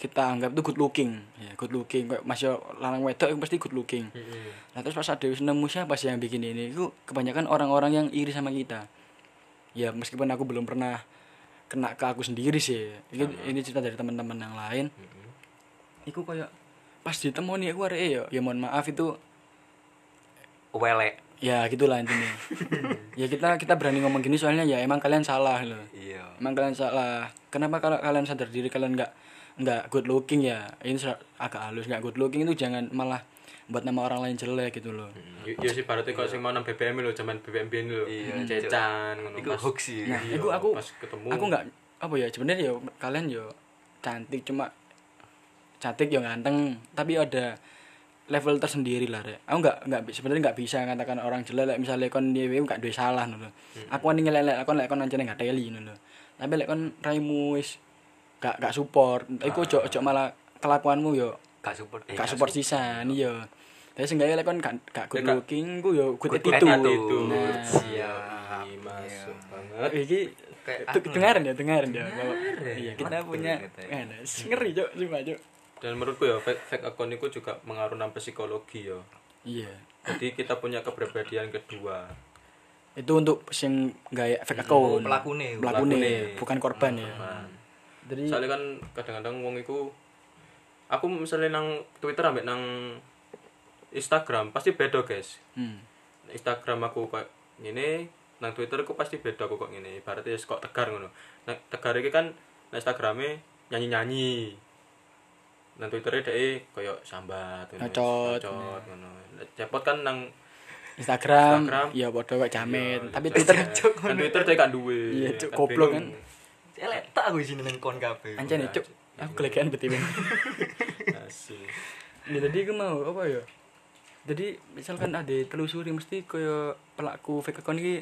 [SPEAKER 3] kita anggap tuh good looking ya good looking kayak masih lanang wedok itu pasti good looking
[SPEAKER 2] Hmm.
[SPEAKER 3] nah terus pas ada wis nemu siapa sih yang bikin ini itu kebanyakan orang-orang yang iri sama kita ya meskipun aku belum pernah kena ke aku sendiri sih ini, ini cerita dari teman-teman yang lain Iku kayak pas ditemoni aku arek ya, ya mohon maaf itu
[SPEAKER 1] Welek.
[SPEAKER 3] ya gitulah intinya. ya kita kita berani ngomong gini soalnya ya emang kalian salah loh.
[SPEAKER 1] Iya.
[SPEAKER 3] Emang kalian salah. Kenapa kalau kalian sadar diri kalian nggak nggak good looking ya? Ini ser- agak halus nggak good looking itu jangan malah buat nama orang lain jelek gitu loh.
[SPEAKER 2] Yo yo sih baratnya kok sing mau nang BBM lho, zaman BBM biyen lho. Hmm,
[SPEAKER 1] Iya,
[SPEAKER 2] cecan ngono.
[SPEAKER 1] Iku
[SPEAKER 2] Mas.
[SPEAKER 1] hoax sih.
[SPEAKER 3] Nah,
[SPEAKER 2] Iya,
[SPEAKER 3] iku aku
[SPEAKER 2] pas ketemu.
[SPEAKER 3] aku nggak apa ya sebenarnya ya kalian yo cantik cuma cantik yo ganteng tapi ada level tersendiri lah rek aku nggak nggak bi- sebenarnya nggak bisa ngatakan orang jelek like, misalnya kon dia E nggak duwe salah nuh aku ani ngelelek kon lek kon anjene nggak teli nuh tapi lek kon raimu wis gak gak support iku ojo ojo malah kelakuanmu yo
[SPEAKER 1] Gak support. eh,
[SPEAKER 3] gak support sisan iya tapi seenggaknya lek kon gak gak good
[SPEAKER 2] Lek gak-
[SPEAKER 3] looking ku yo good
[SPEAKER 1] Good
[SPEAKER 3] attitude
[SPEAKER 1] attitude.
[SPEAKER 2] itu.
[SPEAKER 3] Nah.
[SPEAKER 2] Iya, iya, masuk banget.
[SPEAKER 3] iki
[SPEAKER 1] Kayak
[SPEAKER 3] itu
[SPEAKER 1] aku
[SPEAKER 3] dengaran ya dengaran ya Bapak. iya kita
[SPEAKER 1] Mantep
[SPEAKER 3] punya
[SPEAKER 1] gitu ya.
[SPEAKER 3] eh, nah, ngeri cok cuma cok
[SPEAKER 2] Dan menurutku ya fake, fake account itu juga mengaruh nang psikologi ya.
[SPEAKER 3] iya
[SPEAKER 2] Jadi kita punya kepribadian kedua.
[SPEAKER 3] itu untuk sing gaya fake account
[SPEAKER 1] pelakune. Ah.
[SPEAKER 3] pelakune
[SPEAKER 2] Pelakune.
[SPEAKER 3] bukan korban ya jadi
[SPEAKER 2] Soalnya kan kadang-kadang wong iku aku misalnya nang Twitter ambek nang Instagram pasti beda, guys.
[SPEAKER 3] hmm,
[SPEAKER 2] Instagram aku kok ngene, nang Twitter aku pasti beda aku kok ngene. Ibaratnya wis kok tegar ngono. Nah, tegar iki kan nang Instagrame nyanyi-nyanyi. Nang Twittere dhek e koyo sambat ngono,
[SPEAKER 3] Nacot.
[SPEAKER 2] nacot, ngono. Nah, Cepot kan nang
[SPEAKER 3] Instagram,
[SPEAKER 2] Instagram.
[SPEAKER 3] ya bodoh kayak jamet
[SPEAKER 2] Iya,
[SPEAKER 3] tapi
[SPEAKER 2] iya,
[SPEAKER 3] Twitter
[SPEAKER 2] iya. Kan Twitter dhek gak duwe.
[SPEAKER 3] Iya, cuk, goblok kan.
[SPEAKER 2] bingung.
[SPEAKER 1] Elek tak aku isine nang kon kabeh.
[SPEAKER 3] anjane cok
[SPEAKER 1] Iya,
[SPEAKER 3] aku kelegaan betiwi
[SPEAKER 2] Asik.
[SPEAKER 3] ya jadi aku mau apa ya jadi misalkan ada telusuri mesti kaya pelaku fake account ini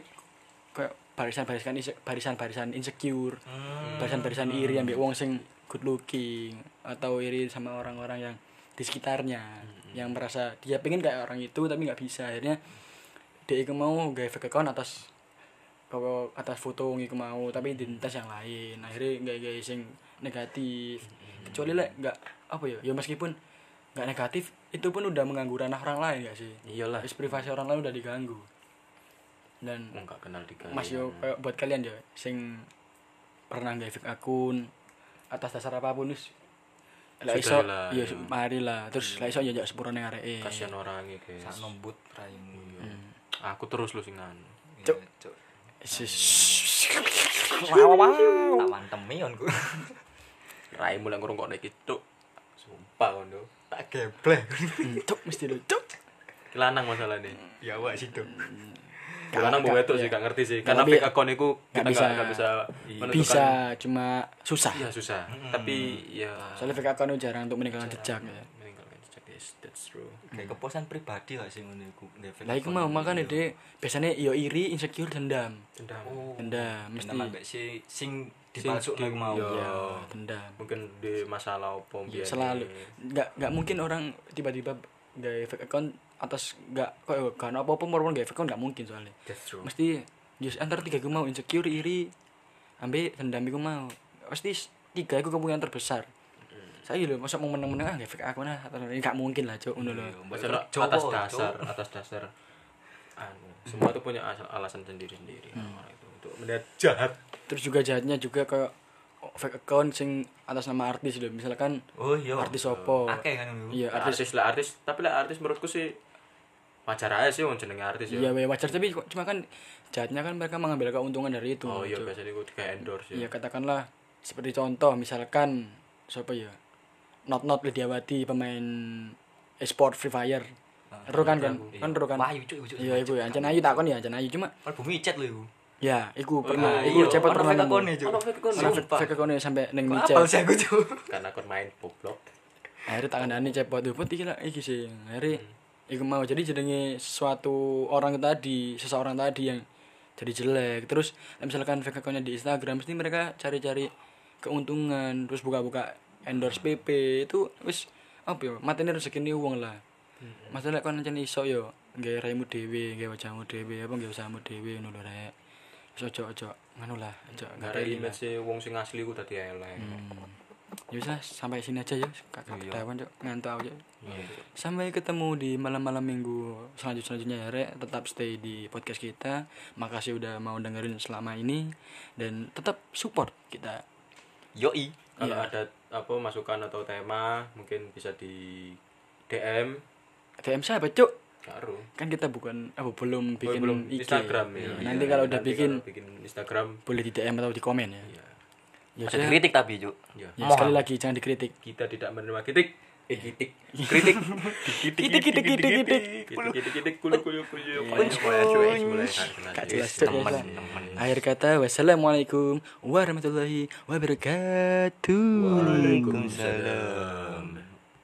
[SPEAKER 3] kayak barisan-barisan inse- barisan-barisan insecure barisan-barisan iri ambek wong sing good looking atau iri sama orang-orang yang di sekitarnya yang merasa dia pengen kayak orang itu tapi nggak bisa akhirnya dia iku mau gawe fake account atas pokok atas foto wong iku mau tapi identitas yang lain akhirnya nggak gawe sing negatif kecuali lek nggak apa ya ya meskipun nggak negatif itu pun udah mengganggu ranah orang lain gak sih
[SPEAKER 2] Iyalah.
[SPEAKER 3] Wis privasi orang lain udah diganggu dan
[SPEAKER 2] Wong Nah, gak kenal digawe.
[SPEAKER 3] Mas yo kayak buat kalian ya sing pernah nggak fake akun atas dasar apapun wis. Lek iso
[SPEAKER 2] Sudahlah.
[SPEAKER 3] ya marilah. Terus lek iso ya njajak sepurane areke.
[SPEAKER 2] iya. kasihan orang iki guys
[SPEAKER 1] sak nombut raimu
[SPEAKER 2] aku terus lu singan
[SPEAKER 1] Cuk.
[SPEAKER 3] Sis. Wow, wow, wow.
[SPEAKER 1] Tak wantemi onku.
[SPEAKER 2] raimu lek ngrungokne iki cuk sumpah kono
[SPEAKER 1] Tak geblek.
[SPEAKER 3] Hmm, Cuk mesti lu cuk.
[SPEAKER 2] lanang masalahnya
[SPEAKER 1] Ya awak situ.
[SPEAKER 2] Ya,
[SPEAKER 3] Iya,
[SPEAKER 2] lanang mbok wedok sih gak ngerti sih
[SPEAKER 3] Gak,
[SPEAKER 2] karena
[SPEAKER 3] tapi-
[SPEAKER 2] fake account iku
[SPEAKER 3] gak
[SPEAKER 2] kita
[SPEAKER 3] bisa.
[SPEAKER 2] gak gak bisa menentukan
[SPEAKER 3] Bisa cuma susah.
[SPEAKER 2] ya susah tapi ya
[SPEAKER 3] Soalnya fake account itu jarang untuk meninggalkan jejak ya.
[SPEAKER 2] meninggalkan jejak yes that's true
[SPEAKER 1] Kayak kepuasan pribadi lah sih ngono iku. Nggak fake
[SPEAKER 3] Lah iku
[SPEAKER 1] account.
[SPEAKER 3] mau
[SPEAKER 2] Iya.
[SPEAKER 3] makane Dek, biasanya yo iri, insecure, dendam.
[SPEAKER 2] dendam
[SPEAKER 1] Oh.
[SPEAKER 3] Dendam mesti.
[SPEAKER 1] Dendam ambek si sing dipalsukno iku mau.
[SPEAKER 2] Iya.
[SPEAKER 3] Ya, dendam.
[SPEAKER 2] mungkin di masalah opo mbiyen.
[SPEAKER 3] Ya, selalu nggak nggak mungkin orang tiba-tiba gak fake account atas nggak kok ya, gak apa apa mau gak fake account nggak mungkin soalnya
[SPEAKER 2] that's true
[SPEAKER 3] mesti just antar tiga gue mau insecure iri ambil dendam gue mau pasti s- tiga gue kemungkinan terbesar
[SPEAKER 2] Mm.
[SPEAKER 3] saya loh masa mau menang-menang ah gak fake account ah atau ini nggak mungkin lah cok ngono
[SPEAKER 2] Iya,
[SPEAKER 3] loh
[SPEAKER 1] Mbak
[SPEAKER 2] Karena
[SPEAKER 1] Jawa,
[SPEAKER 2] atas
[SPEAKER 1] Jawa.
[SPEAKER 2] dasar atas dasar anu semua itu punya as- alasan sendiri sendiri
[SPEAKER 3] Hmm.
[SPEAKER 2] orang itu untuk melihat jahat
[SPEAKER 3] terus juga jahatnya juga kayak oh, fake account sing atas nama artis loh misalkan
[SPEAKER 1] Oh iya.
[SPEAKER 3] artis opo
[SPEAKER 1] Akeh kan ngono iku.
[SPEAKER 3] iya
[SPEAKER 2] artis,
[SPEAKER 3] artis
[SPEAKER 2] lah artis tapi lah artis menurutku sih wajar aja sih wong jenenge artis ya
[SPEAKER 3] iya weh, wajar tapi kok- cuma kan jahatnya kan mereka mengambil keuntungan dari itu
[SPEAKER 2] oh iya
[SPEAKER 3] Cok.
[SPEAKER 2] biasanya gue kayak endorse ya
[SPEAKER 3] Iya katakanlah seperti contoh misalkan siapa ya Not Not Lidiawati pemain e-sport Free Fire
[SPEAKER 1] Ah,
[SPEAKER 3] Ero kan kan
[SPEAKER 2] iya.
[SPEAKER 3] kan Ero kan
[SPEAKER 1] Wah, cuk, cuk.
[SPEAKER 3] iya iku ya Ancan Ayu takon ya Ancan Ayu cuma
[SPEAKER 1] Album micet lho iku.
[SPEAKER 3] ya iku
[SPEAKER 2] iya.
[SPEAKER 3] pernah
[SPEAKER 2] Iya,
[SPEAKER 3] iku cepet
[SPEAKER 1] Ono
[SPEAKER 3] pernah
[SPEAKER 1] fake
[SPEAKER 3] nemu
[SPEAKER 1] account-e, Cuk.
[SPEAKER 2] Ono fake account.
[SPEAKER 3] Pernah
[SPEAKER 1] Sumpah.
[SPEAKER 3] fake- fake account sampai neng
[SPEAKER 1] Kok
[SPEAKER 3] micet
[SPEAKER 1] apal sih aku cuk.
[SPEAKER 2] karena aku main poblok
[SPEAKER 3] akhirnya tak kandani cepet itu iki lah iki sih akhirnya iku mau jadi jenenge sesuatu orang tadi seseorang tadi yang jadi jelek terus misalkan fake accountnya di Instagram mesti mereka cari-cari keuntungan terus buka-buka endorse PP itu wis apa ya matanya rezeki ini uang lah masalah kan ancen iso yo nggak raimu dewi nggak wajahmu dewi apa nggak usahamu dewi nulu rek Wis ojo ojo nganu lah ojo
[SPEAKER 2] gak ada
[SPEAKER 3] ngarep lah.
[SPEAKER 2] image sih wong sing asli gue tadi elek
[SPEAKER 3] ya wis lah, sampai sini aja ya kakak ketahuan cok ngantuk aku Cok.
[SPEAKER 2] Iya.
[SPEAKER 3] Sampai ketemu di malam-malam minggu selanjut selanjutnya ya Rek. Tetap stay di podcast kita. Makasih udah mau dengerin selama ini dan tetap support kita.
[SPEAKER 1] Yoi.
[SPEAKER 2] kalau
[SPEAKER 3] Iya.
[SPEAKER 2] ada apa masukan atau tema mungkin bisa di DM
[SPEAKER 3] DM siapa cuk?
[SPEAKER 2] Karo.
[SPEAKER 3] Kan kita bukan apa belum bikin
[SPEAKER 2] Oh, belum
[SPEAKER 3] IG.
[SPEAKER 2] Instagram ya.
[SPEAKER 3] Iya,
[SPEAKER 2] Iya,
[SPEAKER 3] Nanti kalau udah bikin
[SPEAKER 2] kalau bikin Instagram
[SPEAKER 3] boleh di DM atau di komen ya.
[SPEAKER 2] ya.
[SPEAKER 3] Ya,
[SPEAKER 1] Ada
[SPEAKER 3] saya-
[SPEAKER 1] kritik tapi cuk.
[SPEAKER 2] Ya.
[SPEAKER 3] ya, sekali lagi jangan dikritik.
[SPEAKER 2] kita tidak menerima kritik
[SPEAKER 3] Iya.
[SPEAKER 2] eh kritik kritik
[SPEAKER 3] Kritik, kritik, kritik, kritik.
[SPEAKER 2] kritik kritik kritik kulu kulu kulu Eh,
[SPEAKER 3] Gak jelas Cuk, ya, Sa. Akhir kata wassalamualaikum warahmatullahi wabarakatuh.
[SPEAKER 2] Waalaikumsalam